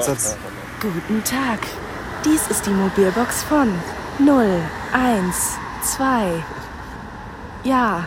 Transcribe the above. Satz. Guten Tag. Dies ist die Mobilbox von 0, 1, 2. Ja.